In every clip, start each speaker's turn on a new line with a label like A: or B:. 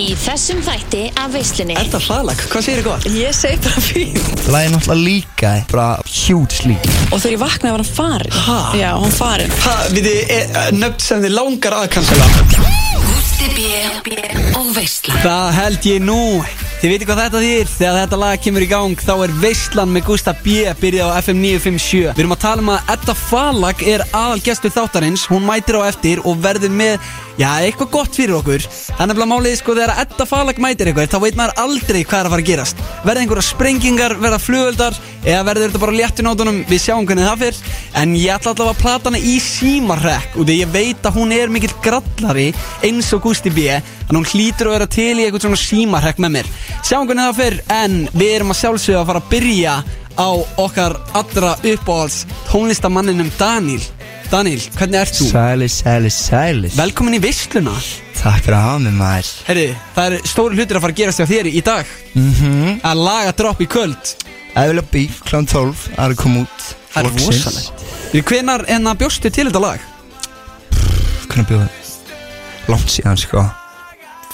A: Í þessum þætti af veislunni
B: Er það hraðlag? Hvað segir þið gott?
C: Ég segi bara fín
D: Lagið er náttúrulega líka bara huge lík
C: Og þegar ég vaknaði var hann farin
B: Ha?
C: Já, hann farin
B: Ha, við þið nöfn sem þið langar að kansala
A: Gústi B og veisla
B: Það held ég nú Þið veitir hvað þetta þýr Þegar þetta lag kemur í gang Þá er Veistlan með Gustaf B Byrjað á FM 957 Við erum að tala um að Edda Falag er aðal gestur þáttarins Hún mætir á eftir og verður með Já, eitthvað gott fyrir okkur Það er nefnilega málið sko Þegar Edda Falag mætir eitthvað Þá veit maður aldrei hvað er að fara að gerast Verða einhverja sprengingar, verða flugöldar Eða verður þetta bara léttu nótunum Við sjáum hvernig það fyrr En ég ætla allavega að plata hana í símarrekk Og því ég veit að hún er mikill grallari Eins og Gusti B Þannig hún hlýtur að vera til í eitthvað svona símarrekk með mér Sjáum hvernig það fyrr En við erum að sjálfsögja að fara að byrja Á okkar allra uppáhalds Tónlistamanninum Daniel Daniel, hvernig ert þú?
D: Sælis, sælis, sælis
B: Velkomin í veisluna
D: Takk fyrir að hafa mig maður
B: Herri, það er stóri hlutir að fara að gerast hjá þér í dag
D: Mhm
B: Að laga dropp í kvöld
D: Æðilega bíf, klán 12, það er að koma út
B: Það er
D: Loksins.
B: rosalegt Fyrir hvenar en að bjóstu til þetta lag?
D: Hvernig bjóða Langt síðan sko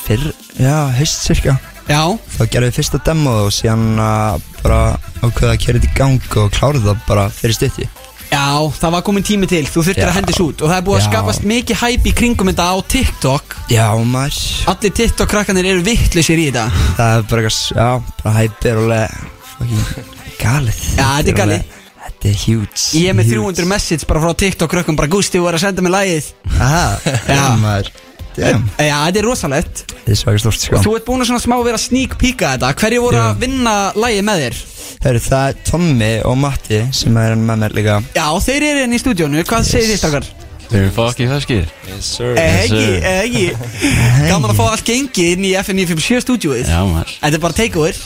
D: Fyrr, já, haust cirka
B: Já
D: Þá gerðum við fyrsta demoð og síðan uh, bara ákveða að kera þetta í gang og klára það bara fyrir stutti
B: Já, það var komin tími til, þú þurftir
D: Já.
B: að hendi svo út Og það er búið að
D: Já.
B: skapast mikið hæp í kringum þetta á TikTok
D: Já maður,
B: Allir TikTok-krakkanir eru vittlisir í þetta
D: það er bara eitthvað, já, bara hæpir og leið Fucking galið
B: Já, þetta er
D: alveg-
B: galið.
D: Þetta er huge
B: Ég er með
D: huge.
B: 300 message bara frá TikTok-krakkum Bara Gusti, þú er að senda mig lagið
D: Aha,
B: Já.
D: já maður Damn,
B: Já, þetta er rosalegt
D: þetta er svaka stort sko
B: Og þú ert búin að svona smá vera sneak peeka þetta Hverju voru
D: Já.
B: að vinna lagið með þér?
D: Hörru, það er Tommy og Matti sem er enn með mér líka
B: Já, þeir eru enn í stúdíónu, hvað segir þið Eh, stakkar?
E: Þeir eru fokkið höskir
B: Egi,
E: sir.
B: egi Gaman að fá allt gengið inn í FN957 stúdíóið
E: Já maður
B: Þetta er bara takeover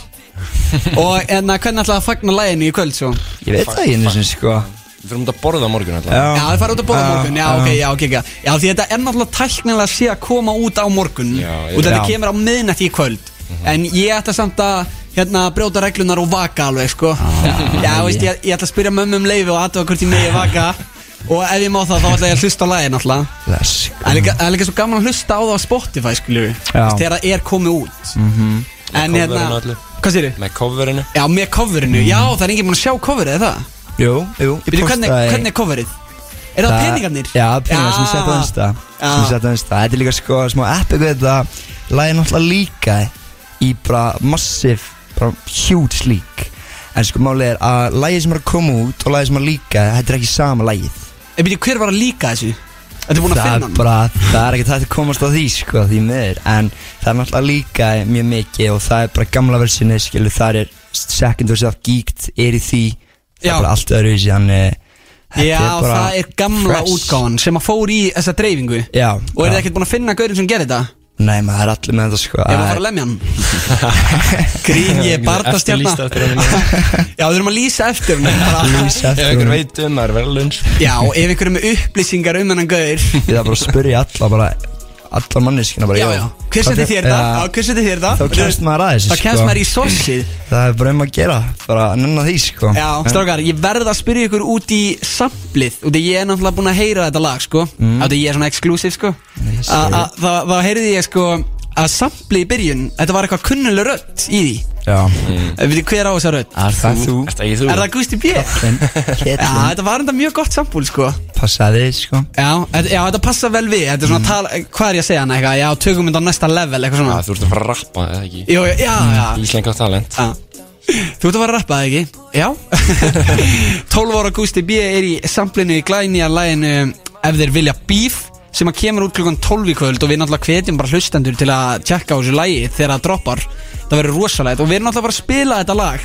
B: Og en að hvernig ætlaði að fagna læginu í kvöld svo?
D: Ég veit það ekki einu sinni sko
F: Við fyrir út að borða á morgun alltaf
B: Já, það fara út að borða á morgun, já,
D: já.
B: ok, já, ok, ok Já, því þetta er náttúrulega tæknilega sé að koma út á morgun
F: Já, já.
B: Og þetta
D: Já.
B: kemur á miðnætti í kvöld En ég ætla samt að, hérna, brjóta reglunar og vaka alveg, sko Já, veist, ég, ég ætla að spyrja mömmu um leifi og aðtöfa hvort ég megi vaka Og ef ég má það, þá ætla ég að hlusta á lægin alltaf
D: Bless sko
B: Það er líka- það er líka svo gaman að hlusta á það á Spotify, skilju
D: Já.
B: Þegar það er komið út En
F: Með coverinu
B: hérna,
F: öllu.
B: hvað sér
F: Með coverinu
B: Já, með coverinu, já, það er enginn búinn að sjá coverið, er það?
D: Jú, jú, ég
B: Býtu, hvernig,
D: postaði-
B: hvernig er coverið? Er það peningarnir?
D: Já, peningarnir sem ég sett á insta
B: Já.
D: Sem ég sett á insta Þetta er líka sko smá epic við þetta Lagið er náttúrulega líka í bara massive, bara huge lík En sko málið er að lagið sem er að koma út og lagið sem er líka Þetta er ekki sama lagið
B: En býtu, Eh, hver var að líka þessu? Þetta er búinn að
D: það
B: finna
D: er
B: hann?
D: bara, það er ekki hægt að komast á því sko, því miður, en það er náttúrulega líka mjög mikið og það er bara gamla versinni, skilu, það er second verse of geeked, er í því það
B: Já.
D: er bara allt eh, öðru í síðan
B: Já, það er gamla útgáðan sem að fór í þessa dreifingu
D: Já,
B: Og er
D: já.
B: þið ekkert búin að finna gaurinn sem gerir þetta?
D: Nei, maður það er allir með þetta sko
B: Ef að fara að lemja hann Grín, ég er barndastjarna
F: Eftir lýst eftir henni.
B: Já, við erum að lýsa eftir honum, bara-
D: Lýsa
F: Ef
D: eftir
F: einhver
D: hún,
F: veit um það er verðlunns
B: Já, ef einhverjum er með upplýsingar um hennan gaur
D: ég þarf bara að spyrja alla bara, allar manneskina bara
B: Já, já, hver setti þér það? Já, hver setti þér það?
D: Þá kemst maður að þessu,
B: Þá kemst
D: sko.
B: maður í sorsið
D: Það er bara um að gera, bara að nenna því sko
B: Já, strákar, ég verð að spyrja ykkur út í samplið Út í ég er náttúrulega búinn að heyra þetta lag, sko mm. Áttu ég er svona exclusive, sko
D: Nice.
B: A- a- þá- Þá heyrði ég, sko, að samplið í byrjun Þetta var eitthvað kunnuleg rödd í því
D: Já,
B: Við veitum hver á þessa rödd
D: það er þú
F: Þetta ekki þú
B: Er það Gusti B? Já,
D: Kettlin,
B: þetta var enda mjög gott sampúl, sko
D: passaði þið sko
B: Já, þetta, já, þetta passa vel við Þetta er svona tala, hvað er ég að segja hann eitthvað Já, tökum þetta á næsta level, eitthvað svona
F: Já, Mm.
B: Jú, já, já, Já.
F: Þú ert að fara að rappa eða ekki Íslenga talent
B: Þú ert að fara að rappa það ekki? Já 12 ára Gusti B er í samplinu í glænýja læginu Ef þeir vilja bíf sem að kemur út klukkan 12 í kvöld og við náttúrulega hvetjum bara hlustendur til að tjekka á þessu lægi þegar það droppar það verður rosalegt og við erum náttúrulega bara að spila þetta lag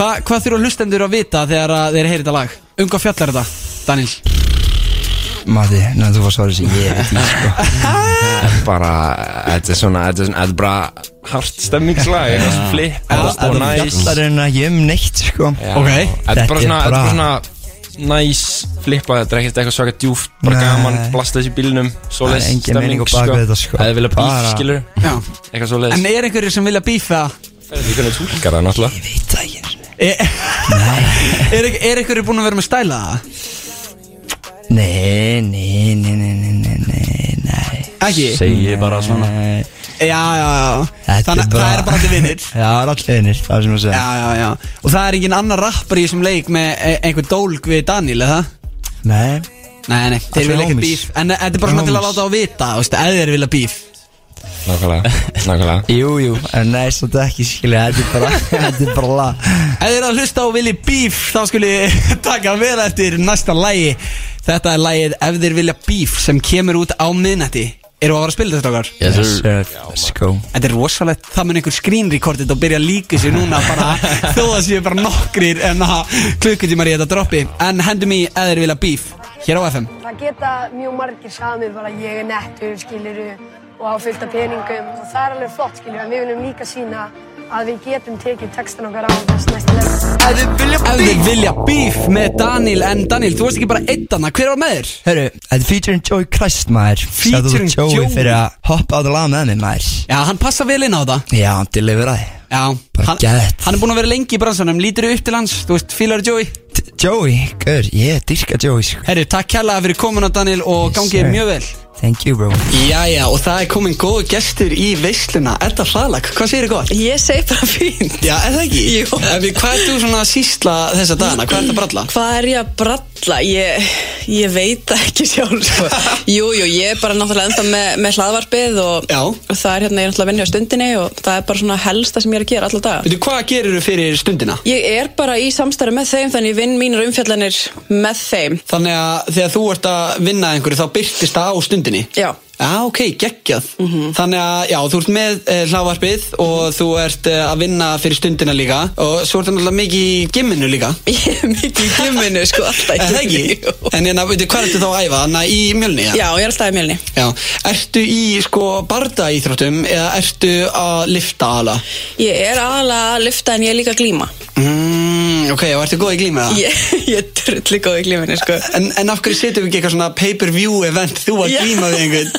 B: Hva, hvað þurfa hlustendur að vita þegar að þeir heyri þetta lag? Um hvað fjallar þetta, Daniel?
D: Mati, neðan þú var svarið sem ég veit í sko
F: Bara, þetta er svona, þetta er svona- þetta er bara Hart stemmingslag eitthvað Flip
B: Já,
F: og næs
D: Fjallar er hérna ekki um neitt sko
F: Já,
B: Ok.
F: Þetta er
D: Þetta er
F: bara svona, þetta
D: bara-
F: er bara svona Næs flippa, þetta er ekkert eitthvað svaka djúft Bara
D: Nei.
F: gaman, blasta þessi bílnum
D: Það
F: Svoleiðis
D: er engin meining á
F: stemming,
D: bak við þetta, sko.
F: Eða vilja bíf,
D: Bara-
F: skilur
B: Já.
F: Eitthvað svoleiðis
B: En er einhverjir sem vilja bífa?
F: Það er líka neitt húlgar það náttúrulega
D: Veit það ekki
B: Er, E- er, er einhverjir búin að vera með stæla það?
D: Nei, nei, nei, nei, nei, nei, nei
B: Ekki?
E: Segji bara svona
D: Nei,
B: Já, já, já
D: Þetta
B: Þannig að það er bara allir vinnir
D: Já, það er allir vinnir, það er sem að segja
B: Já, já, já Og það er engin annar rappar í þessum leik með eh, einhver dólg við Daniel, eða?
D: Nei,
B: Nei, nei, þeir
D: Allir
B: vilja ekkert
D: homies.
B: bíf En eh, þetta er bara svona til að
D: Homies.
B: láta á vita, þú veist, eða þeir vilja bíf
F: Nákvæmlega, nákvæmlega
D: jú, jú, en nei, svolítið ekki skilja Þetta er bara, þetta er bara lag
B: Ef þið eru að hlusta og vilji bíf þá skulle ég taka vel eftir næsta lægi Þetta er lægið Ef þið vilja bíf sem kemur út á miðnætti Eru að fara að spila þetta okkar?
E: Yes, sir.
D: Let's go
B: Þetta er rosalegt, það mun einhver screenrekordið og byrja að líka sér núna bara þó að séu bara nokkrir en að klukkutímar í þetta droppi En hendum í ef þið vilja bíf hér á FM
G: Það geta mjög margir sami bara ég er nettur, skiluru, og á fullt af peningum og það er alveg flott, skiluru, en við viljum líka sína að við getum tekið textan okkar á þess næsta level.
B: Ef þið vilja bíf með Daniel En Daniel, þú varst ekki bara einn anna, hver var með þér?
D: Herru, þetta er featuring Joey Christ maður Shout out
B: Featuring
D: to Joey
B: Joey.
D: fyrir að hoppa á það lag með mér maður
B: Já, hann passa vel inn á það
D: Já, hann deliveraði
B: Já,
D: Bara
B: hann,
D: geðveikt.
B: hann er búin að vera lengi í bransanum, lítur upp til hans, þú veist, fílar Joey
D: T- Joey, gaur, ég yeah, dyrka Joey sko
B: Herru, takk kærlega fyrir komuna Daniel og
D: Yes,
B: gangið
D: sir.
B: mjög vel
D: Thank you bro
B: Jæja, og það er komin góð gestur í veisluna Edda Hraðlag, hvað segir þið gott?
C: Ég segi bara fínt
B: Já, er það ekki?
C: Jú.
B: Ef, við- Hvað ert þú svona að sýsla þessa dagana? Hvað ert að bralla?
C: Hvað er ég að bralla? Ég, ég veit það ekki sjálf sko. Jú, jú, ég er bara náttúrulega ennþá með, með hlaðvarpið og,
B: Já.
C: og það er hérna, ég er náttúrulega að vinna á stundinni og það er bara svona helsta sem ég er að gera alltaf daga
B: Veitu, hvað gerir þú fyrir stundina?
C: Ég er bara í samstarfi með þeim þannig ég vinn mínar umfjallanir með þeim
B: Þannig að þegar þú ert að vinna að einhverju þá byrtist það á stundinni
C: Já,
B: Já, ok, geggjað
C: Mhm.
B: Þannig að, já, þú ert með e, hlávarpið og þú ert e, að vinna fyrir stundina líka og svo ertu náttúrulega mikið í gimminu líka
C: ég er mikið í gimminu sko alltaf
B: Er það ekki?
C: Jú.
B: En hérna, veitu, hvað ertu þá að æfa? Þannig í mjölni,
C: Já, ég er alltaf í mjölni
B: Já, ertu í sko barda íþróttum eða ertu að lifta ala?
C: Ég er aðalega að lifta en ég er líka að glíma
B: Mm, ok, og ertu góð í glíma það?
C: Ég, ég er drulli góð í glíminu sko
B: En, en af hverju setjum við ekki eitthvað svona pay-per-view event þú að
C: Já.
B: glíma við einhvern?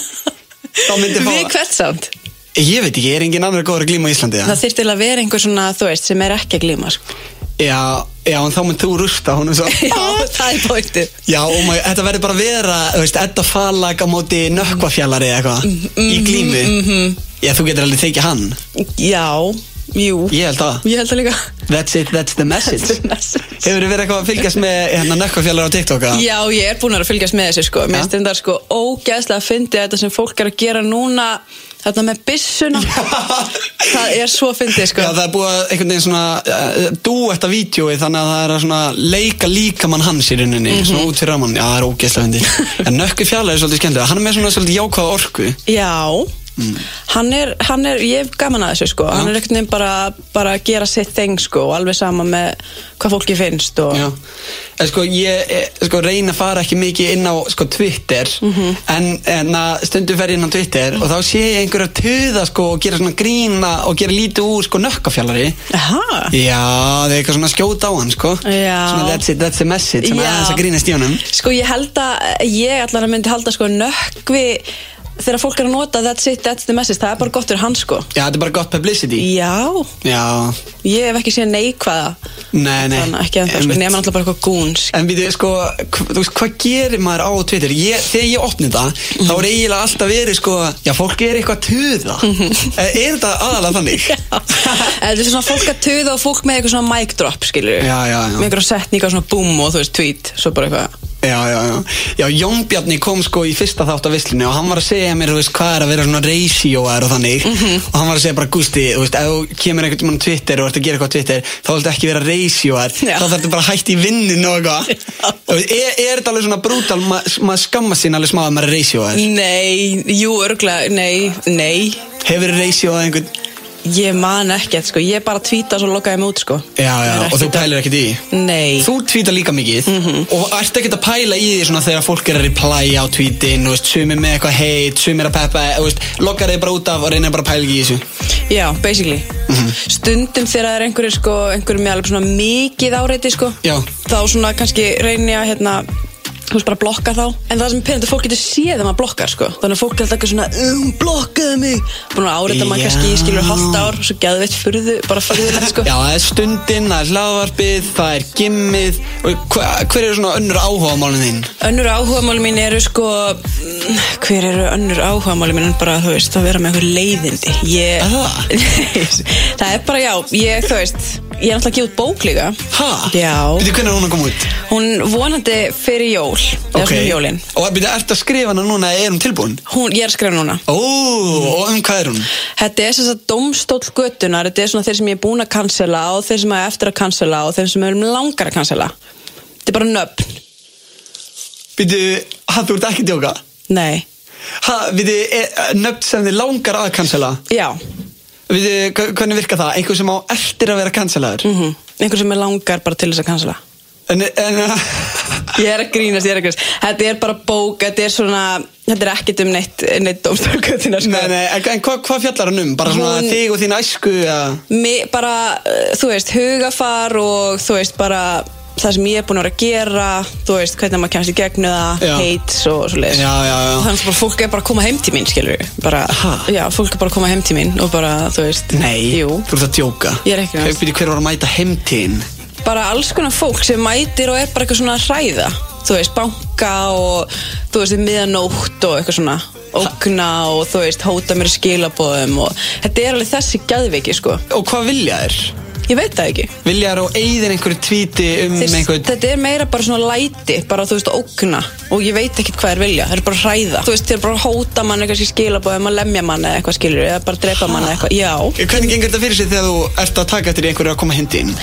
B: Þá myndi fá...
C: Við hvert samt?
B: Ég veit ekki, er engin annar góður að glíma á Íslandi?
C: Það
B: Það...
C: þyrfti eiginlega að vera einhver svona, þú veist, sem er ekki að glíma sko.
B: Já, já, en þá mynd þú rusta honum svo...
C: Já, það er bóttið
B: Já, og maður, þetta verður bara að vera, þú veist, Edda Falag á móti nökkvafjallari eða eitthvað í glímu. Já, þú getur alveg þykja hann.
C: Já, jú
B: Ég held að.
C: Ég held það líka
B: That's it, that's the message.
C: Message.
B: Hefur þið verið eitthvað að fylgjast með hérna, nökkvafjallar á TikTok? eða?
C: Já, ég er búin að vera að fylgjast með þessu sko Mér
B: Ja.
C: finnst þetta sko ógæðslega að fyndi þetta sem fólk er að gera núna Þarna með byssuna Það er svo fyndið sko
B: Já, það er búið að einhvern veginn svona uh, dúetta vídjói þannig að það er að svona leika líkamann hans í rauninni svona út fyrir ramann, já það er ógeðslega fyndið en Nökku Fjalla er svolítið skemmtilega, hann er með svona svolítið jákvæða orku
C: Já Mm. hann, er, hann er, ég hef gaman að þessu sko Hann er ekkert nefn bara, bara að gera sitt þeng sko Og alveg sama með hvað fólki finnst og...
B: Já. En sko, ég eh, sko, reyna að fara ekki mikið inn á sko, Twitter
C: Mhm.
B: en, en að stundum fer ég inn á Twitter og þá sé ég einhverja töða sko, og gera svona grína og gera lítið úr sko, nökkafjallari
C: Aha.
B: Já, það er eitthvað svona skjóta á hann sko.
C: Já.
B: svona that's it, that's the message sem er
C: Já.
B: aðeins að grínast í honum
C: Sko ég held að ég allan að myndi halda sko nökkvi þegar fólk er að nota that's it, that's the message það er bara gott fyrir hans sko
B: Já, þetta er bara gott publicity
C: Já,
B: Já,
C: ég hef ekki séð neikvæða
B: nei, nei
C: þannig ekki enda sko,
B: Einmitt.
C: nema alltaf bara eitthvað gúns
B: En við, sko, hv- þú veist, hvað gerir maður á Twitter? Ég, þegar ég opni það, þá er eiginlega alltaf verið, sko, já, fólk er eitthvað að tuða. Er er þetta aðalega þannig?
C: Þetta er svona fólk að tuða og fólk með eitthvað svona mic drop skilur
B: Já, já, já.
C: með einhverja setninga svona boom og þú veist tweet svo bara eitthvað
B: Já, já, já. Já, Jón Bjarni kom, sko, í fyrsta þátt af visslinu og hann var að segja mér, þú veist, hvað er að vera svona ratioar og þannig. Og hann var að segja bara, Gusti, þú veist, ef þú kemur einhvern tímann á Twitter og ert að gera eitthvað á Twitter, þá viltu ekki vera ratioar.
C: Já.
B: Þá þarftu bara að hætta í vinninu og eitthvað. Þú veist, Er, er þetta alveg svona brútal, maður ma skamma sín alveg smá að maður er ratioar?
C: Mm. Nei, jú, örgulega, nei, nei
B: Hefur ratioar einhvern?
C: ég man ekkert sko, ég bara tweeta og svo lokaði mig út sko
B: Já, já,
C: Ég er
B: og þú
C: ekkert að- Mhm.
B: pælir ekkert í
C: Nei
B: Þú tvítar líka mikið og ert ekkert að pæla í því svona þegar fólk er að reply á tweetin og sumir með eitthvað heit, sumir að peppa og veist, lokar þig bara út af og reynir bara að pæla ekki í þessu
C: Já, basically Stundum þegar það er einhverjir sko, einhverjir með alveg svona mikið áreiti sko
B: Já.
C: Þá svona kannski reyni ég að hérna þú veist bara blokka þá en það sem er penandi, fólk getur séð þegar maður blokkar sko. þannig að fólk er alltaf eitthvað svona um, blokkaði mig, búin að áreita maður
B: Já.
C: kannski skilur hálft ár, svo geðveitt furðu bara furðulegt sko
B: Já, það er stundin, það er hlaðvarpið, það er gimmið og hva, Hver eru svona önnur áhugamálin þín?
C: Önnur áhugamáli mín eru sko mm, Hver eru önnur áhugamáli mín en bara, þú veist, að vera með einhver leiðindi ég,
B: Er það?
C: það er bara, já, ég, þú veist Ég er náttúrulega að gefa út bók líka
B: Ha?
C: Já,
B: Býttu, hvernig er hún að koma út?
C: hún vonandi fyrir jól okay. Eða svona um jólin
B: Og býttu, ertu að skrifa hana núna, er hún tilbúin?
C: Hún, ég er að skrifa núna
B: Ó, og um hvað er hún?
C: Þetta er þess að domstóll göttunar Þetta er svona þeir sem ég er búin að cancela og þeir sem ég er eftir að cancela og þeir sem ég er langar að cancela Þetta er bara nöfn
B: Býttu, hann þú ert ekki að djóka?
C: Nei,
B: Ha, býttu, nöfn sem þið langar að cancela
C: já
B: Býttu, hvernig virka það? Einhver sem á eftir að vera cancelaður?
C: mm Einhver sem ég langar bara til þess að cancela
B: En, en,
C: Ég er að grínast, ég er að grínast Þetta er bara bók, þetta er svona Þetta er ekkert um neitt, neitt domstólgötina sko.
B: nei, nei, en, en hvað hva fjallar hann um? Bara svona
C: Hún-
B: þig og þín æsku að...
C: Mér bara, uh, þú veist, hugafar og þú veist, bara það sem ég er búin að vera að gera þú veist, hvernig maður kemst í gegnu það
B: Já.
C: heits og svo leiðis
B: Já, já, já.
C: Þannig að bara fólk er bara að koma heim til mín, skilur bara,
B: Ha?
C: Já, fólk er bara að koma heim til mín og bara, þú veist
B: Nei,
C: Jú,
B: þú ert að djóka
C: Ég er ekki að-
B: Hver- býttu, Hver var að mæta heimtíðin?
C: bara alls konar fólk sem mætir og er bara eitthvað svona að hræða þú veist, banka og þú veist, miðanótt og eitthvað svona ógna og þú veist, hóta mér í skilabóðum og þetta er alveg þessi gæðviki sko,
B: Og hvað vilja þér?
C: ég veit það ekki
B: Vilja þér á eigðin einhverju tvíti um
C: Þeir,
B: einhvern
C: þetta er meira bara svona læti bara þú veist, ógna og ég veit ekkert hvað er vilja það er bara að hræða, þú veist, þeir bara að hóta mann eitthvað skilabóðum um að lemja mann eða eitthvað skilur eða bara drepa mann eða eitthvað, já
B: Hvernig gengur þetta fyrir sig þegar þú ert að taka eftir í einhverju að koma heimtíðin?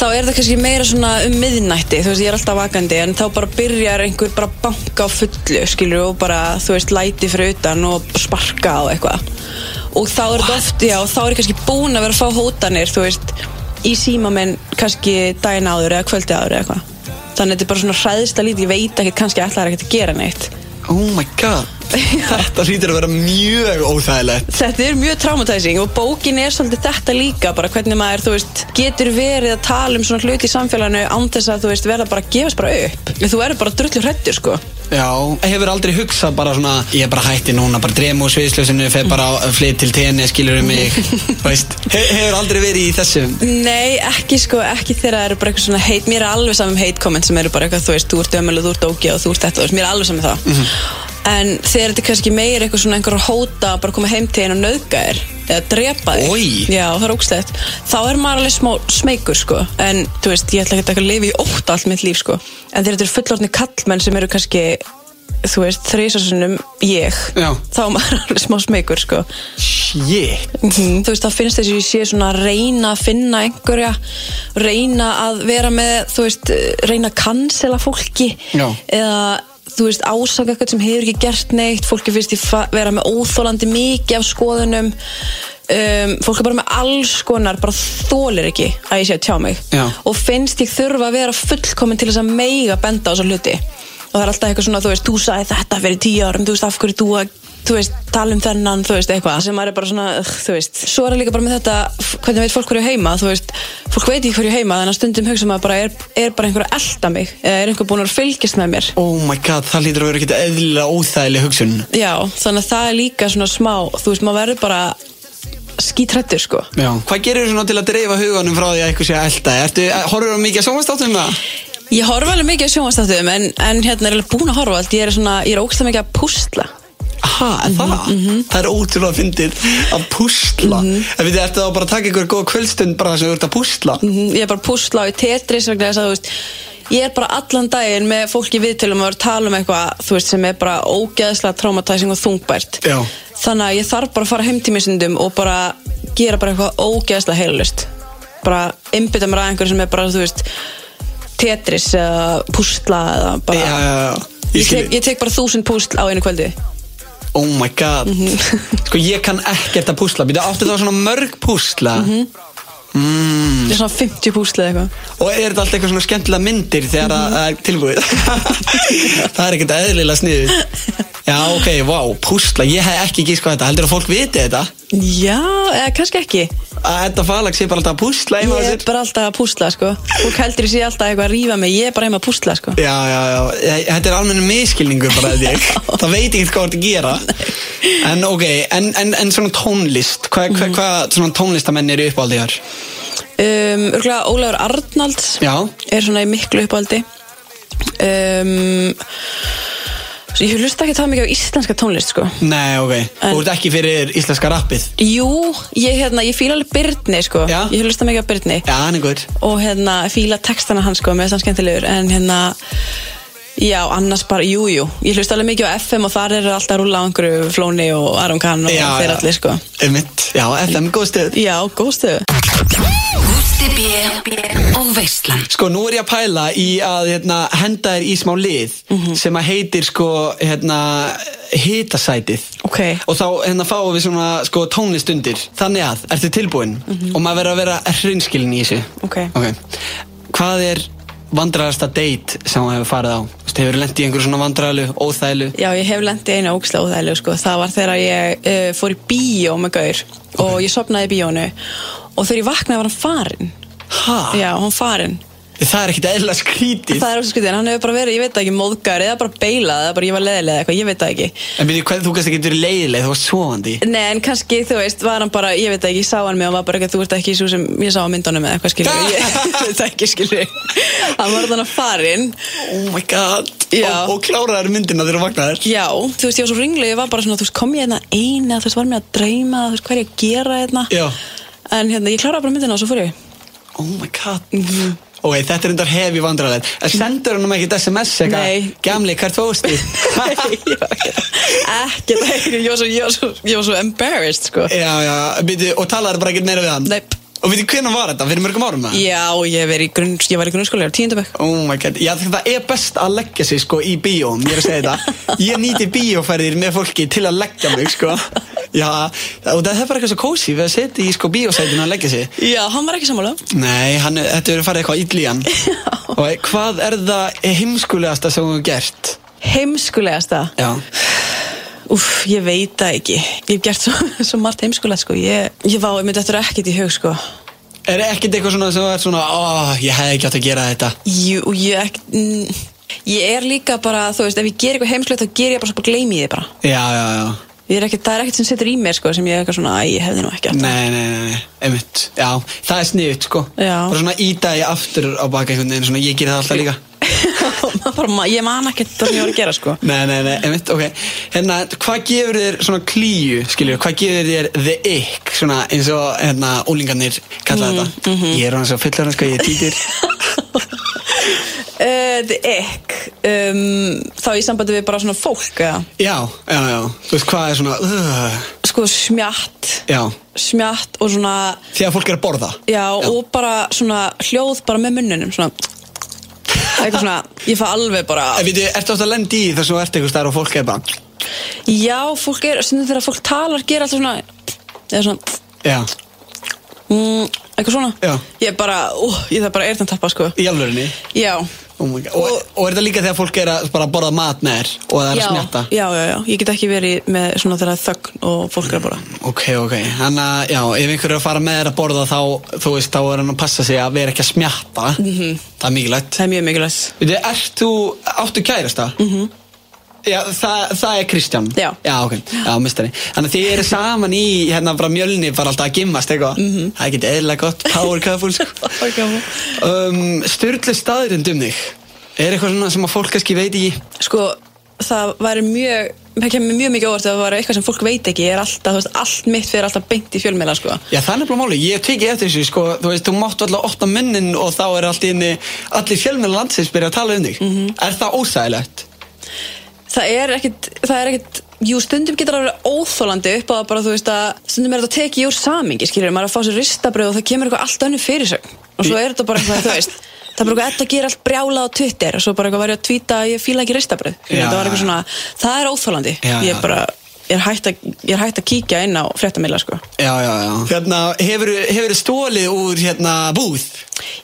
C: þá er það kannski meira svona um miðnætti þú veist, ég er alltaf vakandi en þá bara byrjar einhver bara að banka á fullu skilur og bara, þú veist, læti fyrir utan og sparka á eitthvað og þá er þetta oft, já, og þá er ég kannski búin að vera að fá hótanir, þú veist í síma minn kannski daginn áður eða kvöldi áður eða eitthvað þannig að þetta er bara svona hræðsla lítið, ég veit ekki kannski ætlaðar ekkert að gera neitt
B: Oh my god Þetta hlýtur að vera mjög óþægilegt
C: Þetta er mjög traumatizing og bókin er svolítið þetta líka bara hvernig maður, þú veist, getur verið að tala um svona hluti í samfélaginu án þess að þú veist, verða bara að gefast bara upp Þú eru bara drullu hrættur, sko
B: Já, hefur aldrei hugsað bara svona Ég er bara hætti núna, bara dremu og sviðslösinu Fer bara að flyt til tenni, skilur um mig Veist, he hefur aldrei verið í þessum
C: Nei, ekki sko, ekki þegar það eru bara eitthvað svona heit Mér er alveg saman um hate comment sem eru bara eitthvað, þú veist, þú ert ömuleg, þú ert ógið og þú ert þetta, þú veist, mér er alveg saman um það
B: Mhm.
C: En þegar þetta er kannski meira eitthvað svona einhver að hóta bara koma heim til einu og nauðga þér eða drepa þig
B: Oj.
C: Já, það er ógstætt Þá er maður alveg smá smeykur sko En, þú veist, ég ætla ekki að lifa í ótt allt mitt líf sko En þegar þetta eru fullorðni kallmenn sem eru kannski Þú veist, þrísasunum ég
B: Já.
C: Þá er maður alveg smá smeykur sko
B: Shit
C: -hmm. þú veist það finnst þess að ég sé svona að reyna að finna einhverja reyna að vera með þú veist, reyna að cancela fólki
B: Já.
C: eða þú veist ásaka eitthvað sem hefur ekki gert neitt fólki finnst ég fa- vera með óþólandi mikið af skoðunum um, fólk er bara með alls konar bara þólir ekki að ég sé að tjá mig
B: Já.
C: og finnst ég þurfa að vera fullkomin til þess að meiga benda á þessa hluti og það er alltaf eitthvað svona, þú veist, þú sagði þetta fyrir tíu árum, þú veist, af hverju þú að þú veist, tala um þennan, þú veist, eitthvað sem maður er bara svona, ugh, þú veist svo er það líka bara með þetta, f- hvernig veit fólk hverju heima þú veist, fólk veit ekki hverju heima þannig að stundum hugsa maður bara, er, er bara einhver að elta mig eða er einhver búin að fylgjast með mér
B: Oh my god, það hlýtur að vera ekkert eðlilega óþægileg hugsun
C: já, þannig að það er líka svona smá þú veist, maður verður bara skítrættur, sko
B: Já. Hvað gerir þú svona til að dreifa huganum frá því að eitthvað sé að elda? Ertu, horfur þú mikið að sjónvastáttum það?
C: Ég horfa alveg mikið á sjónvastáttum en, en hérna er alveg búin að horfa allt ég er, svona, ég er ókslega mikið að púsla
B: Aha, en það? Það er ótrúlega fyndið að púsla. Mm -hmm. En við þið, ertu þá bara að taka ykkur góða kvöldstund bara þess að þú ert að púsla?
C: Mhm, ég er bara að púsla á í tetris vegna þess að þú veist ég er bara allan daginn með fólki viðtölum og er að tala um eitthvað þú veist sem er bara ógeðslega traumatizing og þungbært
B: Já.
C: þannig að ég þarf bara að fara heim til mér stundum og bara gera bara eitthvað ógeðslega heilalust bara einbytta mér að einhverju sem er bara þú veist tetris eða púsla eða bara
B: Já, já, já.
C: Ég,
B: skil
C: tek, ég tek bara þúsund púsl á einu kvöldi
B: Oh my god. Sko ég kann ekkert að púsla. Býta, áttu þá svona mörg púsla? Mm.
C: Það er svona 50 púsl eða eitthvað
B: Og er þetta allt eitthvað svona skemmtilega myndir þegar að- það er tilbúið? það er ekkert eðlilega sniðið. Já, ok, vá, púsla. Ég hef ekki gísk hvað þetta. Heldur að fólk viti þetta?
C: Já, eða kannski ekki
B: að þetta falag sé bara alltaf að púsla heima á
C: Ég er
B: sér
C: bara alltaf að púsla sko Fólk heldur ég sé alltaf eitthvað að rífa mig Ég er bara heima að púsla sko
B: Já, já, já, Þe- þetta er almenna miskilningur bara þetta ég Það veit ekki hvað þú ert að gera En ok, en, en, en svona tónlist Hvað hva, hva, svona tónlistamenn eru uppáldið þar?
C: um, Örgulega Ólafur Arnalds
B: Já.
C: Er svona í miklu uppáldi um, svo Ég hlusta ekki það mikið á íslenska tónlist sko
B: Nei, ok,
C: En-
B: þú ert ekki fyrir íslenska rappið
C: Jú, ég, hérna, ég fíla alveg Byrni sko
B: Já.
C: Ég hlusta mikið á Byrni
B: Já, hann er guður
C: og hérna fíla textana hans sko, með þess að skemmtilegur en hérna Já, annars bara, jú, jú, ég hlusta alveg mikið á FM og þar eru alltaf að rúla á einhverju Flóni og Aron Kahn og þeir allir, sko.
B: Einmitt, já, FM góð stöð
C: Já, góð stöðu.
A: Gústi B og Veistland
B: Sko, nú er ég að pæla í að hérna, henda þér í smá lið
C: Mhm.
B: sem að heitir, sko, hérna, hitasætið
C: Ok.
B: Og þá, hérna, fáum við svona, sko, tónlist undir Þannig að, ertu tilbúin? Og maður verður að vera hreinskilin í þessu
C: Mhm. Ok.
B: Hvað er vandrarasta date sem maður hefur farið á? Þú veist, hefur lent í einhverju svona vandrarlu, óþælu
C: Já, ég hef lendið einu ógslag óþægilegu, sko. Það var þegar ég uh, fór í bíó með Gaur og ég sopnaði í bíónu og þegar ég vaknaði var hann farinn.
B: Ha?
C: Já, hann farinn.
B: Það er ekkit eðla skrítið
C: Það er ósað skritin, hann hefur bara verið, ég veit það ekki, móðgar eða bara beilað eða bara ég var leðilega eða eitthvað, ég veit það ekki.
B: En byrju, hvað þú kannski getur leiðileg, þú varst svovandi
C: Nei, en kannski, þú veist, var hann bara, ég veit ekki, ég sá hann mig og var bara eitthvað, þú ert ekki svo sem ég sá á myndunum eða eitthvað, skilur ég, ég veit það ekki, skilur hann var þannig farinn,
B: Oh my god
C: Já.
B: Og, og kláraðar myndina þegar þú vaknaðir
C: já, þú veist, ég var svo ringlega, ég var bara svona, þú veist, kom ég hérna eina, þú veist, var mér að dreyma, þú veist, hvað er ég að gera hérna,
B: Já.
C: en hérna, ég kláraði bara myndina og svo fór ég,
B: Oh my god Ok, þetta er undar hefi vandræðið En sendur hann um ekkert sms eitthvað
C: Nei.
B: Gamli, hvert fósti
C: ég var ekki, ekki, ég var svo, ég var svo, ég var svo embarrassed, sko,
B: Já, já, byrju, og talaður bara ekkert meira við hann
C: Nei.
B: Og veitir, hvernig var þetta? Fyrir mörgum árum það?
C: já, ég, hef verið í grunn, ég var í grunnskóla, ég var tíundabæk,
B: Oh my god, já það er best að leggja sig sko í bíóm, ég er að segja þetta Ég nýti bíóferðir með fólki til að leggja mig sko Já, og það er bara eitthvað svo kósi við að setja í sko bíósætinu að leggja sig
C: já, hann var ekki sammála,
B: Nei, hann, þetta verður farið eitthvað illi í hann Og hvað er það heimskulegasta sem þú hefur gert?
C: heimskulegast
B: Já
C: Úf, ég veit það ekki. Ég hef gert svo, svo margt heimskulegt, sko. Ég, ég vá, ég myndi þetta ekkert í hug, sko.
B: Er ekkert eitthvað svona sem þú er svona Ó, ég hefði ekki átt að gera þetta
C: Jú, og ég ekki... mm, Ég er líka bara, þú veist, ef ég ger eitthvað heimskulegt, þá ger ég bara svo bara gleymi ég þið bara.
B: Já, já, já
C: Ég er ekki, það er ekkert sem setur í mér, sko, sem ég er eitthvað svona, æ, ég hefði nú ekki átt.
B: Nei, nei, nei, nei, einmitt Já, það er sniðut, sko
C: Já.
B: Bara svona íta ég aftur á baka einhvern veginn Svona ég geri það alltaf líka
C: Maður bara, ma- ég man ekkert það sem ég var að gera, sko.
B: Nei, nei, nei, einmitt, ok Hérna, hvað gefur þér svona klíu, skiljur Hvað gefur þér the ick, svona eins og hérna, ólingarnir kalla þetta Ég er hann svo fullur hann, sko, ég er títir
C: Uh, the ick. Um, þá í sambandi við bara svona fólk, eða?
B: Já, já, já, þú veist hvað er svona uh,
C: Sko, smjatt.
B: Já,
C: Smjatt og svona,
B: því að fólk er að borða
C: já, og bara svona hljóð bara með munnunum, svona... Eitthvað svona, ég fæ alveg bara...
B: En veitu, ertu átt að lenda í þess að þú ert eitthvað stær og fólk er bara
C: Já, fólk er, stundum þegar fólk talar gera alltaf svona eða svona,
B: Já,
C: mm, eitthvað svona
B: Já.
C: Ég er bara, ú, ég þarf bara eyrn að tappa sko
B: í alvörinni
C: Já,
B: oh my God. og, og er þetta líka þegar fólk er að bara að borða mat með þér og það er
C: já,
B: að smjatta
C: já, já, já, ég get ekki verið með svona þegar þögn og fólk er bara
B: Ok, ok, þannig að já, ef einhver er að fara með þér að borða þá, þú veist, þá er hann að passa sig að vera ekki að smjatta Það er mikilvægt
C: Það er mjög mikilvægt
B: Veitu, ert þú, áttu kærasta? Mm -hmm. Já, það, það er Kristján
C: Já.
B: Já, ok, já, mistari Þannig að þið eru saman í, hérna, bara mjölni bara alltaf að gimmast, eitthvað -hmm. Það er ekki eðlilega gott, power couple, sko
C: Power couple.
B: um, Sturlu staðurinn um þig Er eitthvað svona sem að fólk kannski veit ekki
C: Sko, það væri mjög það kemur mér mjög mikið óvart ef það væri eitthvað sem fólk veit ekki Ég er alltaf, þú veist, allt mitt fyrir alltaf beint í fjölmiðla sko
B: Já, það er nefnilega máli, ég tekið eftir þessu, sko Þú veist, þú máttu alltaf opna munnin og þá er allt inni Allir fjölmenn landsins byrja að tala um þig -hmm. Er það ósæðilegt?
C: Það er ekkit, það er ekkit Jú, stundum getur það að vera óþólandi upp á það bara, þú veist að stundum er þetta tekið úr samingi, skiljum, maður er að fá sér ristabröð og það kemur eitthvað allt önnu fyrir sig og svo er þetta bara eitthvað, þú veist það er bara eitthvað, þetta gerir allt brjála á Twitter og svo bara eitthvað var ég að tvíta að ég fíla ekki ristabröð
B: Já.
C: það var eitthvað svona, það er óþólandi
B: Já,
C: ég
B: já.
C: er bara, ég er hægt að, ég er hægt að kíkja inn á fréttamilla, sko
B: Já, já, já Hérna, hefur, hefur stólið úr, hérna, búð?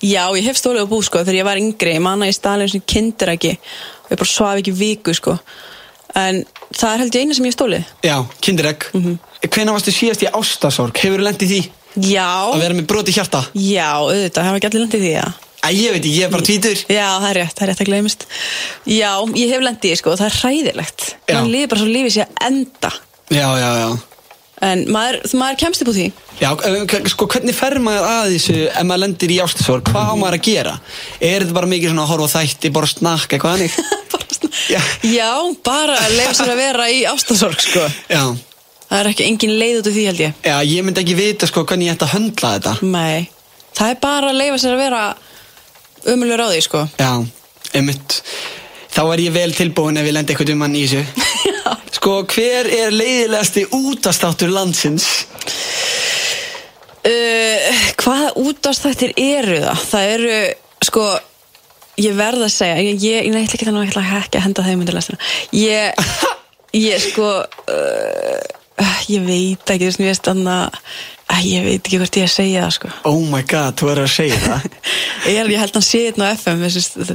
C: Já, ég hef stólið á bú, sko, þegar ég var yngri ég man að ég stali einu sinni kindereggi og ég bara svaf ekki viku, sko en það er held ég eina sem ég hef stólið
B: Já, kindiregg mm Hvenær varstu síðast í ástasorg? Hefur þú lendið því að
C: já,
B: vera með broti hjarta?
C: já, auðvitað, hafa ekki allir landið því já.
B: Æ, ég veit ekki, ég er bara tvítur
C: já, það er rétt, það er rétt að gleymist já, ég hef landið því sko, það er hræðilegt
B: Já.
C: mann líður bara svo lífið sé að enda
B: Já, já, já
C: en maður, maður kemst upp úr því
B: Já, eh, k- sko, hvernig fer maður að þessu ef maður lendir í ástasorg? Hvað á maður að gera? Er þetta bara mikið svona að horfa á þætti, bara snakka, eitthvað hannig?
C: Bara svona-
B: Já.
C: já, bara leifa sér að vera í ástasorg sko.
B: Já,
C: það er ekki engin leið út af því held ég
B: já, ég myndi ekki vita sko hvernig ég ætti að höndla þetta
C: Nei, það er bara að leifa sér að vera umulur á því, sko.
B: Já, einmitt Þá er ég vel tilbúin ef ég lendi eitthvað um hann í þessu Sko, hver er leiðilegasti útastáttur landsins?
C: Uh, hvaða útastættir eru það? Það eru, sko, ég verð að segja, ég, ég, nei, ég ætla ekki þannig að ég ætla að ekki að henda þeim undir lestina. Ég, ég, sko, uh, ég veit ekki, þú veist, mér veist annað, Æ, ég veit ekki hvort ég að segja það, sko.
B: Oh my god, þú er að segja það
C: Ég, er- ég held að hann sé þetta á FM mér finnst- mér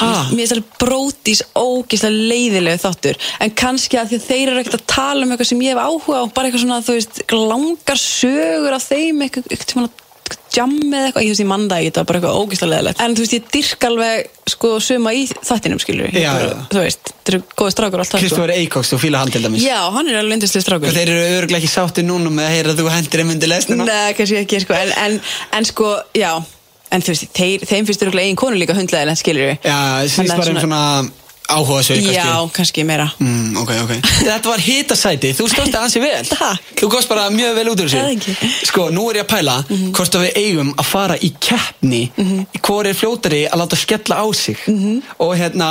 B: Ha?
C: finnst alveg brótis ógislega leiðilegu þáttur en kannski að því að þeir eru ekkert að tala um eitthvað sem ég hef áhuga á bara eitthvað svona þú veist langar sögur af þeim eitthvað, eitthvað, eitthvað, eitthvað jam eða eitthvað, ég þú veist ég manda ekki þetta var bara eitthvað ógislega leiðilegt en þú veist ég dyrk alveg sko suma í þættinum skilur við. Ég
B: Já,
C: bara,
B: já.
C: þú veist, þetta eru góði strákur alltaf sko.
B: Kristofur Eikóks, þú fíla hann til dæmis
C: já, hann er alveg yndislega strákur
B: Þeir eru örglega ekki sáttir núna með að heyra að þú hendir um undir lestina
C: Nei, kannski ekki, sko, en, en, en sko, já En þú veist, þeir, þeim finnst þurfa eigin konu líka hundlega, skilur við
B: Já,
C: Þannig
B: síðst
C: að
B: bara um
C: svona-
B: svona áhuga sög
C: Já, kannski meira
B: Mm, ok, ok Þetta var hitasæti, þú stóðst að ansi vel
C: Takk.
B: Þú kost bara mjög vel út úr
C: Það
B: sér
C: ekki. Mhm.
B: Sko, nú er ég að pæla Hvort að við eigum að fara í keppni mm Hvor er fljótari að láta skella á sig
C: Mhm.
B: Og hérna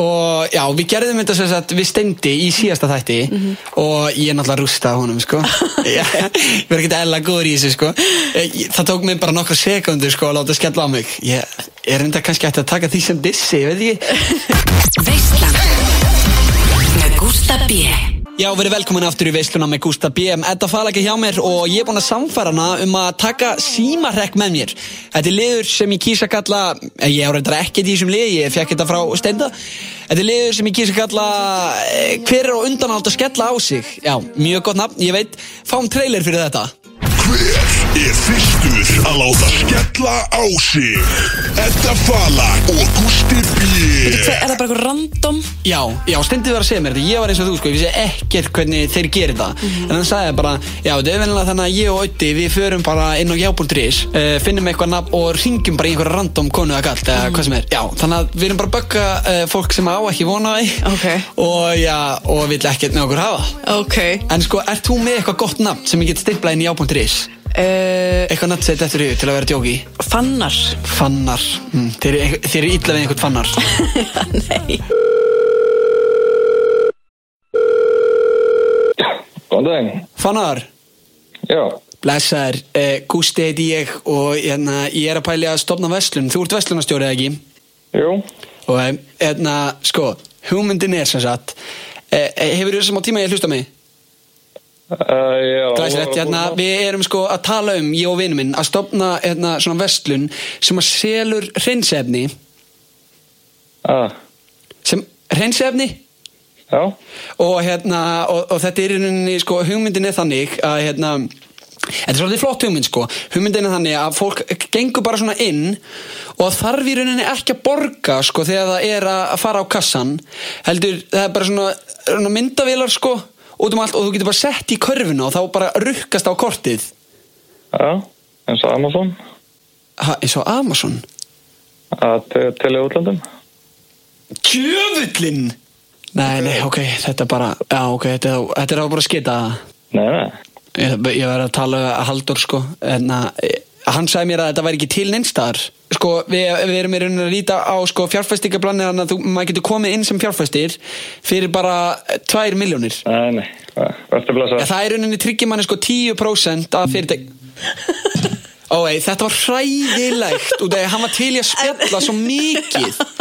B: Og já, við gerðum þetta sem sagt Við stendi í síðasta þætti
C: Mhm.
B: Og ég er náttúrulega rústa honum, sko Já, Ég verð ekki ella góður í þessu, sko Eh, ég- Það tók mig bara nokkra sekundur, sko Að láta skella á mig Ég er enda kannski ætti að taka því sem dissi, ég veit ég
A: Veislan Með Gústa B
B: Já, verið velkomin aftur í veisluna með Gústa BM Edda Falaki hjá mér og ég er búin að samfæra hana um að taka símarrekk með mér Þetta er liður sem ég kýsa kalla eh, Ég á reyndar ekkert í þessum liði, ég fekk þetta frá steinda Þetta er liður sem ég kýsa kalla eh, Hver er á undan að skella á sig? Já, mjög gott nafn, ég veit Fáum trailer fyrir þetta
E: Hver er fyrstur að láta skella á sig? Edda Fala og Gústi B.
C: Hver- Er það bara eitthvað random?
B: Já, já, steindið var að segja mér þetta, ég var eins og þú sko, ég vissi ekkert hvernig þeir gerir það En hann sagði bara, já, þetta er venilega þannig að ég og Ötti, við förum bara inn á jábúl.is uh, Finnum eitthvað nafn og ringjum bara í einhverja random konu eða galt, eða hvað sem er Já, þannig að við erum bara að bögga uh, fólk sem á ekki vona því
C: Ókei.
B: Og já, og vill ekkert með okkur hafa
C: Ok
B: En sko, ert þú með eitthvað gott nafn sem ég get stimplað inn í jábúl.is?
C: uh,
B: Eitthvað nafn sett eftir því til að vera djóki?
C: Fannar
B: Fannar, mm, þeir, eru- þeir eru illa við einhvern fannar
C: Nei
H: Góðan daginn.
B: Fannar?
H: Já,
B: Blessaður, eh, Gústi heiti ég og hérna, ég er að pæli að stopna verslun Þú ert verslunarstjórið ekki
H: jú,
B: og eh, hérna, sko, hugmyndin er sem sagt eh, eh, Hefur þú þessum á tíma ég að hlusta á mig?
H: uh, já.
B: Glæsilegt, hérna, við erum sko að tala um, ég og vinur minn að stopna hérna, svona verslun sem að selur hreinsefni
H: Ah,
B: sem, hreinsefni?
H: já,
B: og hérna og, og þetta er í rauninni sko hugmyndin er þannig að hérna Þetta er svolítið flott hugmynd sko Hugmyndin er þannig að fólk gengur bara svona inn Og þarf í rauninni ekki að borga sko Þegar það er að að fara á kassan Heldur, það er bara svona, svona myndavélar sko Út um allt og þú getur bara sett í körfuna Og þá bara rukkast á kortið
H: já, eins og Amazon,
B: ha, Eins og Amazon
H: að te- til í útlandum.
B: Kjöfullinn Nei, nei, ok, þetta bara Já, ok, þetta, er- þetta er á bara að skita það
H: Nei, nei,
B: Ég, ég var að tala að Haldur sko en að eh, hann sagði mér að þetta væri ekki til neinstaðar sko við, við erum í rauninni að líta á sko fjárfæstingablanir þannig að þú, maður getur komið inn sem fjárfæstir fyrir bara eh, 2 miljónir
H: nei, nei, verður
B: ja,
H: blessa.
B: það er í rauninni tryggjum manni sko 10% af fyrirtæk óei þetta var hræðilegt og hann var til í að spjalla svo mikið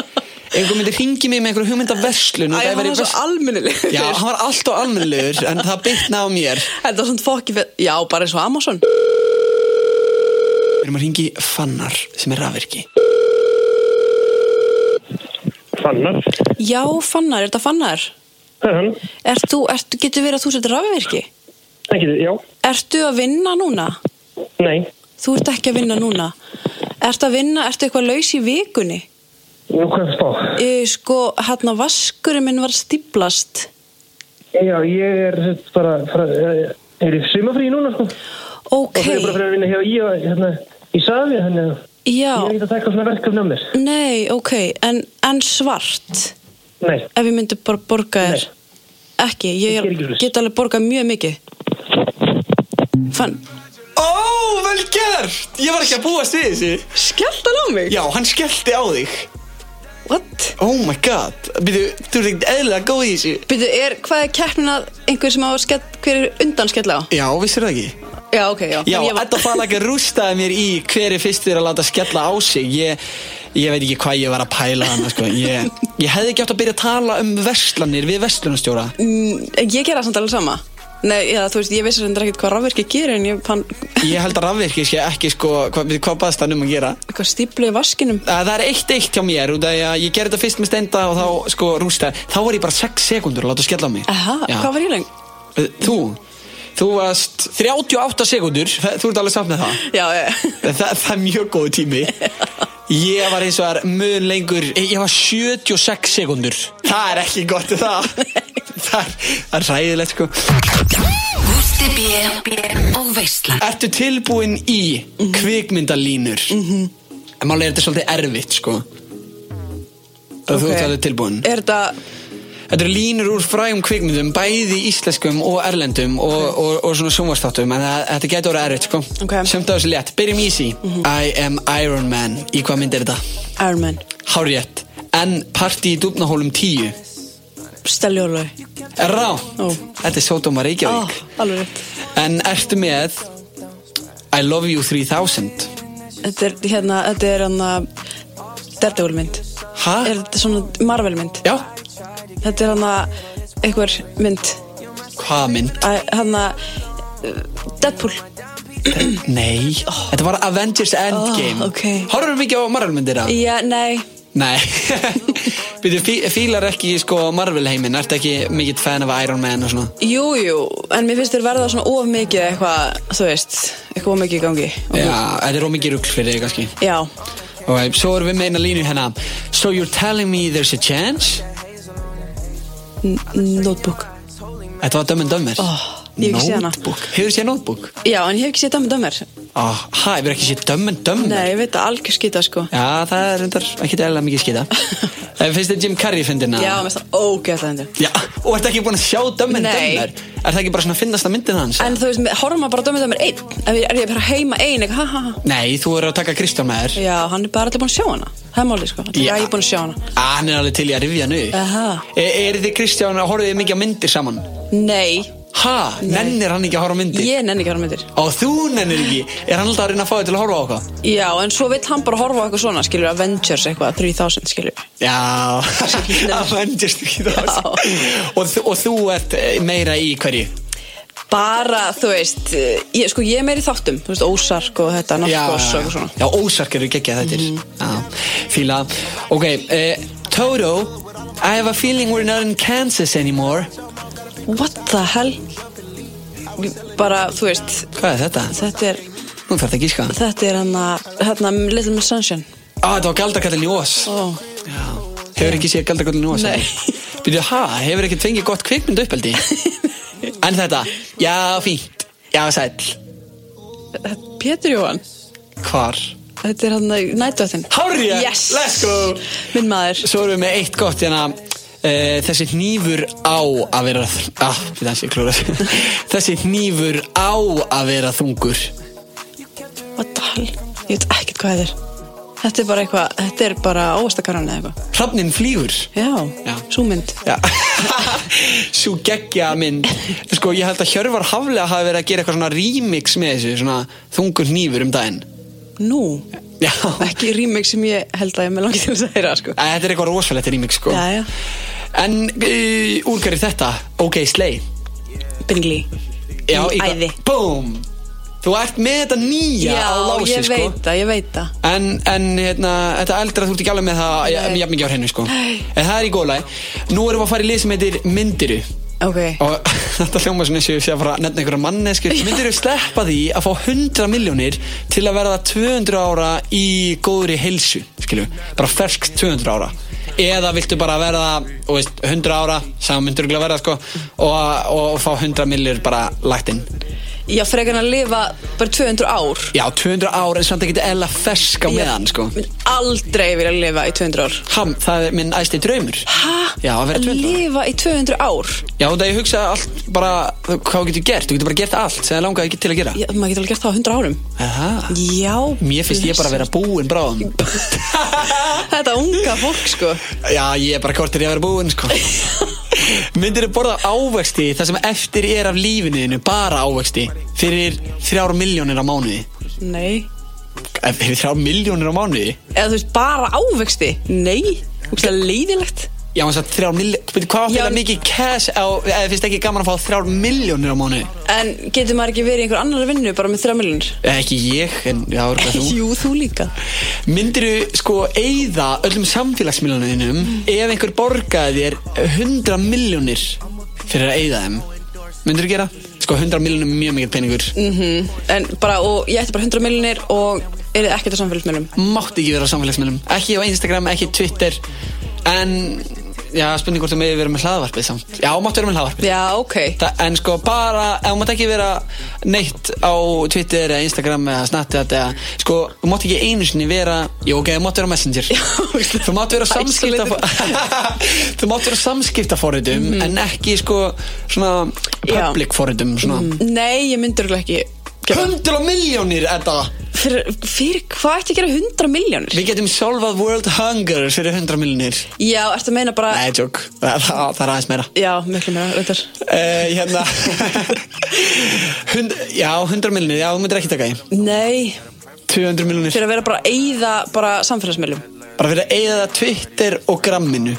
B: einhver myndi ringi mig með einhver hugmyndaverslun og
C: Æ,
B: það
C: hann
B: væri
C: var svo
B: vers-
C: almennilegur
B: Já, hann var allt og almennlegur en það bytna á mér
C: Þetta var svona fokki fyrir Já, bara eins og Amazon
B: Við erum að ringi Fannar sem er rafvirki
H: Fannar,
C: Já, Fannar, er þetta Fannar?
H: Mhm.
C: Ert þú, ert, getur verið að þú setur rafvirki?
H: Ekki, já,
C: Ertu að vinna núna?
H: nei,
C: Þú ert ekki að vinna núna. Ertu að vinna, ertu eitthvað laus í vikunni?
H: nú hvað er það spá?
C: E, sko, hérna vaskurinn minn var stíplast.
H: Já, ég er sem sagt, bara, bara eh, er í sumafrí núna sko
C: Ok,
H: og það er bara fyrir að vinna hjá í og hérna í safi, þannig að
C: já,
H: ég er ekki að taka svona verkefni á mér.
C: nei, ok, en, en svart,
H: Nei,
C: ef ég myndi bara borga þér, ekki, ég
H: Ég
C: er,
H: geri ekki svoleiðis.
C: get alveg borgað mjög mikið. Fann,
B: Ó, vel gert! Ég var ekki að búast við þessu.
C: skellt hann á mig?
B: Já, hann skellti á þig.
C: What?
B: Oh my god. Býtu, þú ert ekkert eðlilega góð í þessu.
C: Býtu, er, hvað er keppnin að einhver sem á að skell, hver er undan skella á?
B: Já, vissir það ekki?
C: Já, ok, já.
B: Já,
C: en ég var-
B: Edda Falag rústaði mér í hver er fyrstur að láta skella á sig ég, ég veit ekki hvað ég var að pæla hann sko. ég, ég hefði ekki átt að byrja að tala um verslanir við verslunarstjóra
C: Mm, ég gera samt alveg sama. Nei, já, þú veist, ég vissi reyndar ekkert hvað rafverki gerir en ég fann
B: Ég held að rafvirkir sé ekki sko, hvað, hvað baðst hann um að gera
C: eitthvað stíplu í vaskinum.
B: Að Það er eitt eitt hjá mér út af því að ég gerði þetta fyrst með stenda og þá sko rústaði Þá var ég bara 6 sekundur að láta skella á mig
C: Aha,
B: Já.
C: hvað var ég lengi?
B: Eh, Þú, þú varst 38 sekundur, þú ert alveg samt með það
C: Já, já.
B: Þa, það er mjög góð tími Ég var eins og er mun lengur eh, Ég var 76 sekundur Það er ekki gott er það Það er, það er ræðilegt sko
A: Gústi B og Veislan
B: Ertu tilbúin í kvikmyndalínur mm -hmm. En málega er þetta svolítið erfitt sko Það þú
C: Ok.
B: ert alveg tilbúin
C: Er þetta,
B: Þetta eru línur úr frægum kvikmyndum Bæði íslenskum og erlendum Og, og, og svona sjónvastátum En það, þetta getur orðið erfitt sko
C: Ok. Mhm.
B: Semt á þessu létt Byrjum easy I am Iron Man Í hvað mynd er þetta?
C: Iron Man,
B: Hárjætt En partí í dúfnahólum 10
C: Stelli Orlöf
B: Er rá
C: Ó.
B: Þetta er Sódóma
C: ah,
B: Reykjavík
C: Alveg rétt
B: En ertu með I love you 3000
C: Þetta er hérna, þetta er hérna Daredevil mynd
B: Ha?
C: Er þetta svona Marvel mynd?
B: Já
C: Þetta er hérna einhver mynd
B: Hvað mynd?
C: Æ, Hérna uh, Deadpool
B: Nei Þetta var Avengers Endgame
C: Ó, ok.
B: Horfum við ekki á Marvel-myndir af?
C: Já, nei
B: Nei Býtu, fí fílar ekki sko Marvel heiminn Ertu ekki mikill fan af Iron Man og svona
C: Jú, jú, en mér finnst þér verða svona of mikið eitthvað, þú veist, eitthvað of mikið í gangi.
B: Já, þetta er ómikið rugl fyrir þig kannski
C: Já,
B: Ok, svo erum við með eina línu hérna So you're telling me there's a chance?
C: notebook.
B: Þetta var Dömmen Dömmers
C: Ó, Oh, ég hef ekki séð hana.
B: Notebook, hefur séð Notebook?
C: Já, en ég hef ekki séð dæmið dæmir.
B: Ah, ha, hefur ekki séð Dömmen Dömmer?
C: Nei, ég veit að algjör skýta, sko.
B: Já, það er reyndar ekki eðlilega mikið skita Það finnst þér Jim Carrey fyndina
C: Já, mér finnst það ógeðslega hendur.
B: Já, og ertu ekki búin að sjá Dömmen
C: Nei.
B: Dömmer? Er það ekki bara svona finnast að myndin hans?
C: En þú veist, með- horfum maður bara að dömið það mér einn Ef ég- Er ég bara heima einn, eitthvað, ha ha ha
B: Nei, þú eru að taka Kristján með þér
C: Já, hann er bara allir búin að sjá hana Það er málið, sko, allir
B: Já.
C: yeah. búin að sjá hana
B: Á, hann er alveg til í að rifja hann upp
C: Aha.
B: e Er þið Kristján að horfið þið mikið á myndir saman?
C: Nei,
B: Ha, nennir hann ekki að horfa á myndir?
C: ég nenni ekki að horfa á myndir
B: Og þú nennir ekki Er hann alltaf að reyna að fá þig til að horfa á okkar?
C: Já, en svo vill hann bara horfa á eitthvað svona, skilur Avengers eitthvað, 3000, skilur
B: Já,
C: ekki nennir.
B: Avengers ekki það
C: Já.
B: og, þú- og þú ert eh, meira í hverju?
C: Bara, þú veist, eh, ég, sko, ég er meiri þáttum Þú veist, Ósark og þetta, Narkos og eitthvað svona Mhm.
B: já, ósark eru geggjað þetta mm Já, fíla Ok, uh, Toto I have a feeling we're not in Kansas anymore
C: What the hell? Ég- Bara, þú veist,
B: Hvað er þetta?
C: þetta er
B: Nú þarf þetta að gíska
C: Þetta er hann að, hérna, Little Miss Sunshine
B: Ah, þetta var Galdakallin í Ós
C: Ó,
B: Já, hefur ekki séð Galdakallin í Ós
C: Nei.
B: Býtu, ha, hefur ekki fengið gott kvikmynd uppeldi En þetta, já, fínt Já, sæll
C: Pétur Jóhann
B: Hvar?
C: Þetta er hann að nættvöttin
B: Hárrétt!
C: yes.
B: Let's go!
C: Minn maður
B: Svo erum við með eitt gott hérna Uh, þessi hnífur á að vera þ- ah, fyrir hans ég klúra þessi hnífur á að vera þungur
C: What the hell Ég veit ekkert hvað þetta er Þetta er bara eitthvað Þetta er bara óvastakaran eða eitthvað
B: hrafnin flýgur Já.
C: Já, svo mynd
B: Já. svo geggja minn sko ég held að Hjörvar Haflega hafi verið að gera eitthvað svona remix með þessu svona þungur hnífur um daginn
C: Nú
B: já,
C: Ekki remix sem ég held að ég með langi til þess að heyra sko.
B: Æ, þetta er eitthvað rosalegt remix sko
C: Já, já
B: en uh, úrgar er þetta ok, slay
C: Bingli
B: já, í-
C: Æði.
B: boom Þú ert með þetta nýja á lási
C: ég
B: sko
C: veit það, ég veit það
B: En, en hérna, þetta eldra þú ert ekki alveg með það
C: Nei.
B: jafn mikið á hennu sko
C: Nei.
B: En það er í góla Nú erum við að fara í lið sem heitir Myndiru
C: Ok,
B: Og þetta hljóma svona eins og ég sé að fara að nefna einhverja mannesku Myndiru sleppa því að fá 100 miljónir til að verða 200 ára í góðri heilsu Skilju, bara fersk 200 ára Eða viltu bara verða þú veist, 100 ára, sem myndir örugglega verða sko Og, og fá 100 miljónir bara lagt inn
C: já, frekar en að lifa bara 200 ár
B: Já, 200 ár en samt að geta eðla fersk á meðan, sko
C: Ég Mynd aldrei vilja lifa í 200 ár
B: Ham, það er minn æsti draumur
C: Hæ?
B: Já, að vera 200 ára
C: Lifa í 200 ár?
B: Já, það ég hugsa allt bara Hvað þú getur gert, þú getur bara gert allt sem það langaði ekki til að gera
C: Já, maður getur alveg gert það á 100 árum
B: Aha.
C: Já
B: Mér finnst ég bara að vera búinn bráðum
C: Þetta unga fólk, sko
B: Já, ég er bara kortir í að vera búinn, sko Myndir þú borða ávexti Það sem eftir er af lífiniðinu Bara ávexti Fyrir þrjár miljónir á mánuði
C: Nei
B: Eh, Fyrir þrjár miljónir á mánuði
C: Eða þú veist, bara ávexti? Nei Úkslega leiðilegt
B: Já, maður sagt þrjár miljónir Hvað
C: Já,
B: áfélag
C: en-
B: mikið cash á Eða finnst ekki gaman að fá þrjár miljónir á mánuði
C: En getur maður ekki verið í einhver annar vinnu bara með 3 miljonir?
B: Eh, Ekki ég, en já, er hvað þú
C: Jú, þú líka
B: Myndirðu sko eyða öllum samfélagsmiljóninum ef einhver borgaði þér 100 miljónir fyrir að eyða þeim Myndirðu gera? Sko 100 miljónum er mjög mikið peningur
C: Mhm. En bara, og ég ætti bara 100 miljonir og er þið ekkert á samfélagsmiðlum
B: Mátti ekki vera á samfélagsmiljón Ekki á Instagram, ekki Twitter En, já, spurning hvort þú meði vera með hlaðvarpið samt Já, máttu vera með hlaðvarpið
C: Já, ok
B: Þa, en sko bara, ef þú mátt ekki vera neitt á Twitter eða Instagram eða Snapchat eða, sko, þú mátt ekki einu sinni vera, jú ok, þú mátt vera á messenger þú mátt vera á samskipta þú mátt vera á samskipta forritum en ekki sko svona
C: Já. Mhm.
B: public forritum svona
C: Nei, ég myndur ekki gera það.
B: 100 miljónir þetta
C: Fyrir, fyrir hvað ætti að gera 100 miljonir?
B: Við getum solvað world hunger fyrir 100 miljónir
C: Já, ertu að meina bara
B: Nei, joke, það, það, það er aðeins meira
C: Já, miklu meira, reyndar
B: uh, Hérna Hund, Já, 100 miljónir, já, þú myndir ekki taka í
C: Nei,
B: 200 miljónir
C: fyrir að vera bara að eyða bara samfélagsmiðlum
B: bara fyrir að eigða það Twitter og gramminu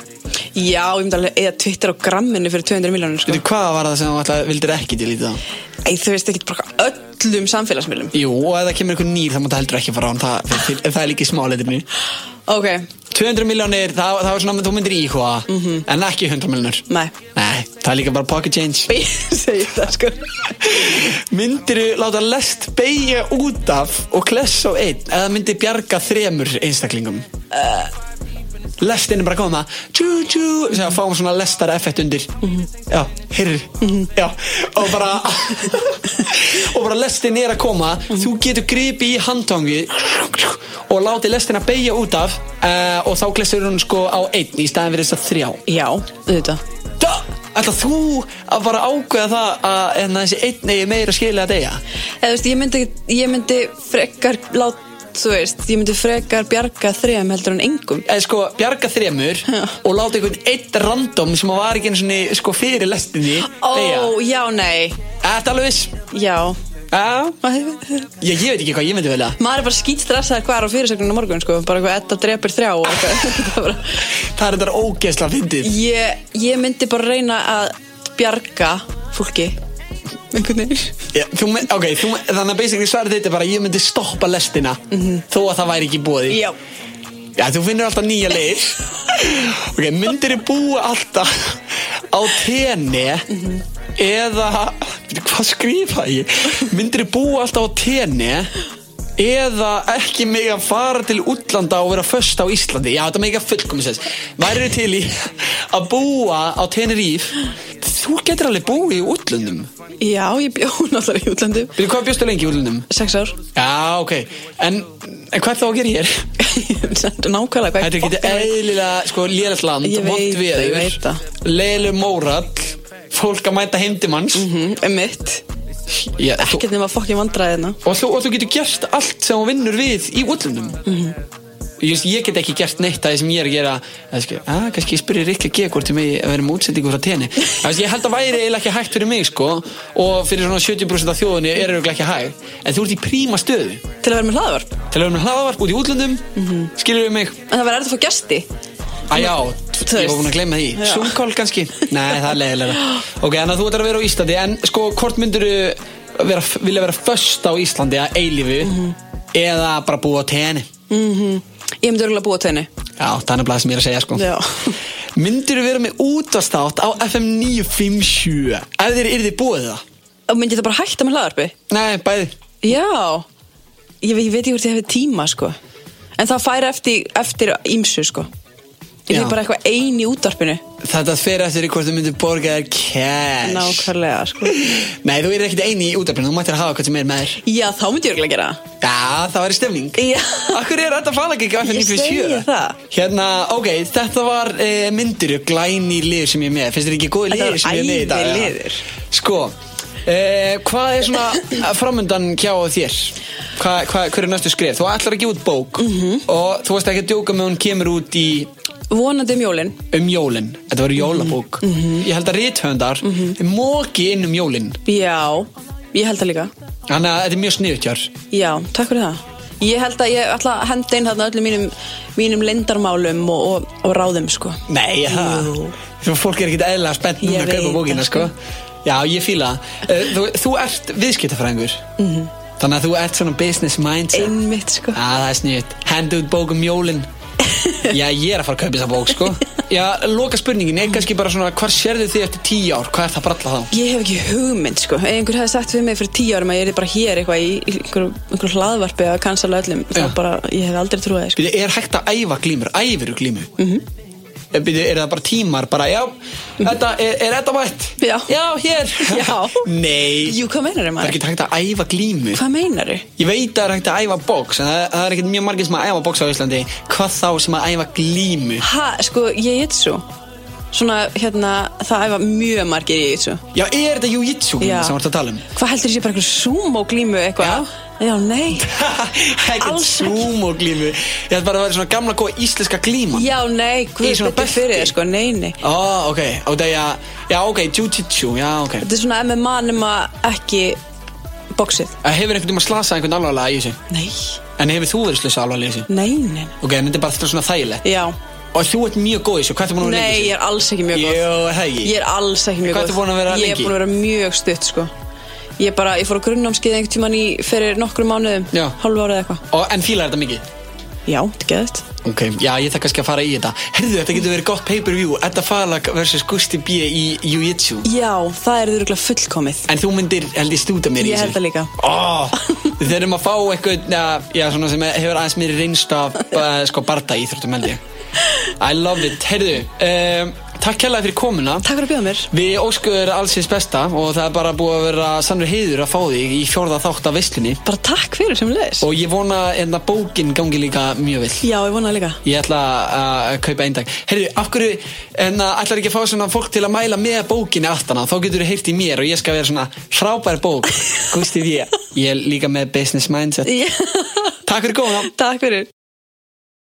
C: Já, ég myndi alveg eyða Twitter á gramminu fyrir 200 miljonir sko.
B: veitu hvað var það sem þú ætlaði, vildir ekki til í það
C: Ei, þú veist ekki bara öllum samfélagsmiðlum
B: jú, og ef það kemur einhver nýr þá máttu heldur ekki fara á hann það, fyrir, ef það er líka í smáleitirni
C: Ok,
B: 200 miljónir, það, það er svona að þú myndir íhuga en ekki 100 miljónir
C: nei
B: nei, það er líka bara pocket change
C: Ég segi það sko
B: myndiru láta lest beigja út af og klessa á einn eða myndir bjarga þremur einstaklingum lestin er bara að koma tjú tjú sem að fáum svona lestara effekt undir já, heyrir já, og bara og bara lestin er að koma þú getur gripi í handtangi og láti lestin að beigja út af uh, og þá glesur hún sko á einn í staðin fyrir þess að þrjá
C: Já, auðvitað
B: Da! Ætla þú að bara ákveða það að en þessi einn eigi meira skilja að deyja?
C: Eða þú veist, ég myndi, ég myndi frekar lát, þú veist, ég myndi frekar bjarga þrejum heldur en engum
B: Eða sko, bjarga þremur
C: Já.
B: og láta einhvern einn random sem var ekki einu sinni sko fyrir lestinni
C: Ó,
B: deyja.
C: já, nei
B: Þetta alveg viss?
C: Já
B: Já,
C: Maður
B: ég, ég veit ekki hvað ég myndi velja.
C: er bara skýt stressaður hvað er á fyrirsögnum á morgun sko, bara eitthvað Edda drepir þrjá og eitthvað Þetta er bara-
B: Það er þetta ógeðsla fyndið.
C: ég, ég myndi bara reyna að bjarga fólki einhvern veginn
B: Já, þú mynd, ok, þú, mynd- þannig að basically svarið þetta er bara ég myndi stoppa lestina þó að það væri ekki búið.
C: Mhm. Já,
B: Já, þú finnur alltaf nýja leið Ok, myndir þið búa alltaf á tenni eða Bíddu, hvað skrifa ég? Myndir þið búa alltaf á tenni eða ekki mig að fara til útlanda og vera föst á Íslandi Já, þetta mega fullkomis þess Væri til í að búa á Teneríf Þú getur alveg búið í útlöndum
C: já ég bjó náttúrulega í útlandu
B: Bíddu, Hvað bjóstu lengi í útlöndum?
C: Sex ár
B: Já, ok En, en hvað er þá að gera hér?
C: Þetta er Nákvæmlega hvað
B: Þetta er
C: ég
B: ekki
C: fucking veit.
B: eðlilega sko lélegt land,
C: Ég veit
B: vond
C: það, ég veit það.
B: veður, leilu mórall, fólk að mæta heimdimanns mm.
C: Mhm, Einmitt
B: yeah, þú,
C: Ekkert nema fokkin vandræði hérna
B: og, þú, og þú getur gert allt sem hún vinnur við í útlundum. Mm.
C: Mhm.
B: Ég, veist, ég get ekki gert neitt að það sem ég er að gera, að, sko, að, kannski ég spyrir Rikki G hvort ég megi að vera með útsendingu frá tenni. Ég held að væri eiginlega ekki hægt fyrir mig sko og fyrir svona 70% af þjóðunni er eiginlega ekki hægt, en þú ert í príma stöðu
C: Til að vera með hlaðvarp
B: til að vera með hlaðavarp út í útlundum, mm
C: Mhm.
B: skilur við mig,
C: En það verður erfitt að fá gesti
B: Að já,
C: Þú
B: ég var
C: veist.
B: búin að glemma því
C: Já.
B: Zoom call kannski Nei, það er leiðilega Ok, en þú ætlar að vera á Íslandi En sko, hvort myndur vera, vilja vera föst á Íslandi að eilífu
C: Mhm.
B: eða bara búa á tenni
C: mm Ég myndi örgulega búa til henni
B: Já, það er nefnilega það sem ég er að segja sko
C: Já.
B: Myndirðu vera með útastátt á FM 957 ef þér yrði búið það?
C: Og myndi þetta bara hætta með hlaðarpi?
B: Nei, bæði
C: Já Ég, ve- ég veit ekki hvort ég hefði tíma sko En það færi eftir, eftir ímsu sko Ég
B: Já.
C: er bara eitthvað ein í útvarpinu
B: Þetta fer eftir í hvort þú myndir borga þér cash
C: Nákvæmlega sko
B: Nei, þú er ekkert eini í útaflinu, þú mættir að hafa hvað sem er með þér
C: Já, þá myndi ég örgulega gera það
B: Já, það væri stemning
C: Já.
B: Akkur er þetta falag ekki á FM
C: Ég segi
B: 957?
C: það.
B: Hérna, ok, þetta var e, myndiru glæni liður sem ég er með Finnst þér ekki góði
C: Þetta
B: liður
C: var
B: sem ég er með í dag?
C: æði
B: eða?
C: liður.
B: Sko, e, hvað er svona framöndan hjá þér? Hva, hva, hver er næstu skrif? Þú ætlar að gefa út bók
C: Mhm.
B: -hmm. Og þú varst ekki að djóka með hún kemur út í
C: Vonandi um jólin
B: um jólin Þetta
C: Mhm,
B: var jólabók Ég held að rithöndar mm -hmm. Móki inn um jólin
C: Já, ég held það líka
B: Þannig að þetta er mjög sniðutjár
C: Já, takk fyrir það Ég held að ég ætla að henda inn þarna öllum mínum, mínum lindarmálum og, og, og ráðum sko
B: Nei, það
C: Jú.
B: Svo fólk er ekkit eðlilega spennt
C: Ég
B: núna að kaupa
C: veit
B: bókina,
C: það,
B: sko
C: sko.
B: Já, ég fíla það Eh, Þú, þú ert viðskiptafræðingur
C: Mhm.
B: -hmm. Þannig að þú ert svona business mindset Já,
C: Einmitt sko
B: það er sniðut Henda út bók um jólin Já, ég er að fara að kaupa þessa bók, sko Já, loka spurningin er kannski bara svona Hvar sérðu þið eftir tíu ár? Hvað er það að bralla þá?
C: Ég hef ekki hugmynd sko Ef einhver hefði sagt fyrir mig fyrir tíu árum að ég er bara hér eitthvað í í einhverju, einhverju hlaðvarpi að cancela öllum þá
B: Já.
C: bara, ég hef aldrei trúið það sko.
B: Býðu, er hægt að æfa glímur? Æfiru glímu? Mm
C: Mhm.
B: -hmm. Býðu, er það bara tímar? Bara, já, þetta, er, er þetta mætt?
C: Já.
B: Já, hér
C: Já.
B: Nei
C: Jú, hvað meinar
B: Það er
C: maður?
B: ekki hægt að æfa glímu
C: Hvað meinar
B: Ég veit að það er hægt að æfa box en það, það er ekkert mjög margir sem að æfa box á Íslandi hvað þá sem að æfa glímu
C: Ha, sko, ég get svo Svona, hérna, það æfa mjög margir ég get svo
B: Já, er þetta jujitsu glímu
C: Já.
B: sem varst að tala um?
C: Hvað heldur þessi bara einhverju sumo glímu eitthvað? Já. nei
B: Ekkert
C: Alls ekki.
B: sumo glímu Ég ætla bara að vera svona gamla góða íslenska glíma
C: Já, nei,
B: Í
C: hvað
B: svona
C: betur
B: belti?
C: fyrir þér sko, nei, nei
B: Ó, ok, og það er að Já, ok, jujitsu, já, ok
C: Þetta er svona MMA nema ekki boxið
B: Eh, Hefur einhvern tímann slasað einhvern alvarlega í þessu?
C: Nei,
B: En hefur þú verið slusað alvarlega í þessu?
C: nei, nei
B: Ok, en þetta er bara þetta svona þægilegt
C: Já,
B: Og þú ert mjög góð í þessu, hvað ertu búin að vera
C: nei,
B: lengi
C: ég
B: í
C: er alls ekki mjög
B: þessu?
C: góð
B: Jó, er það ekki?
C: Ég er alls ekki mjög
B: Hvað
C: góð
B: ertu búin að vera
C: Ég
B: lengi?
C: er búin að vera mjög stutt sko Ég bara, ég fór á grunnámskeið einhvern tímann í fyrir nokkrum mánuðum
B: Já.
C: Hálfu árið eitthvað
B: Og, en fílar þetta mikið?
C: Já, þetta geðið
B: Ok, já, ég þarf kannski að fara í þetta Herðu, þetta getur verið gott pay-per-view Edda Falag vs. Gusti B. í Jiu-Jitsu
C: Já, það er þurruglega fullkomið
B: En þú myndir, held ég, stúta mér í
C: Ég held það líka
B: Ó, við þurfum að fá eitthvað Já, svona sem hefur aðeins mér reynst af uh, sko, barda íþróttum, held ég I love it, herðu um, Takk hérlega fyrir komuna
C: Takk fyrir að bjóða mér
B: Við óskum þér allsins besta og það er bara búið að vera sannur heiður að fá þig í fjórða þátt af veislunni
C: Bara takk fyrir sem leðis
B: og ég vona en að hérna, bókin gangi líka mjög vill
C: Já, ég vona það líka
B: Ég ætla að kaupa einn dag Herru, af hverju, en að ætlar ekki að fá svona fólk til að mæla með bókinni aftana Þá getur þú heyrt í mér og ég skal vera svona frábær bók Gústi því, ég er líka með business mindset
C: Já.
B: Takk fyrir góðan
C: Takk fyrir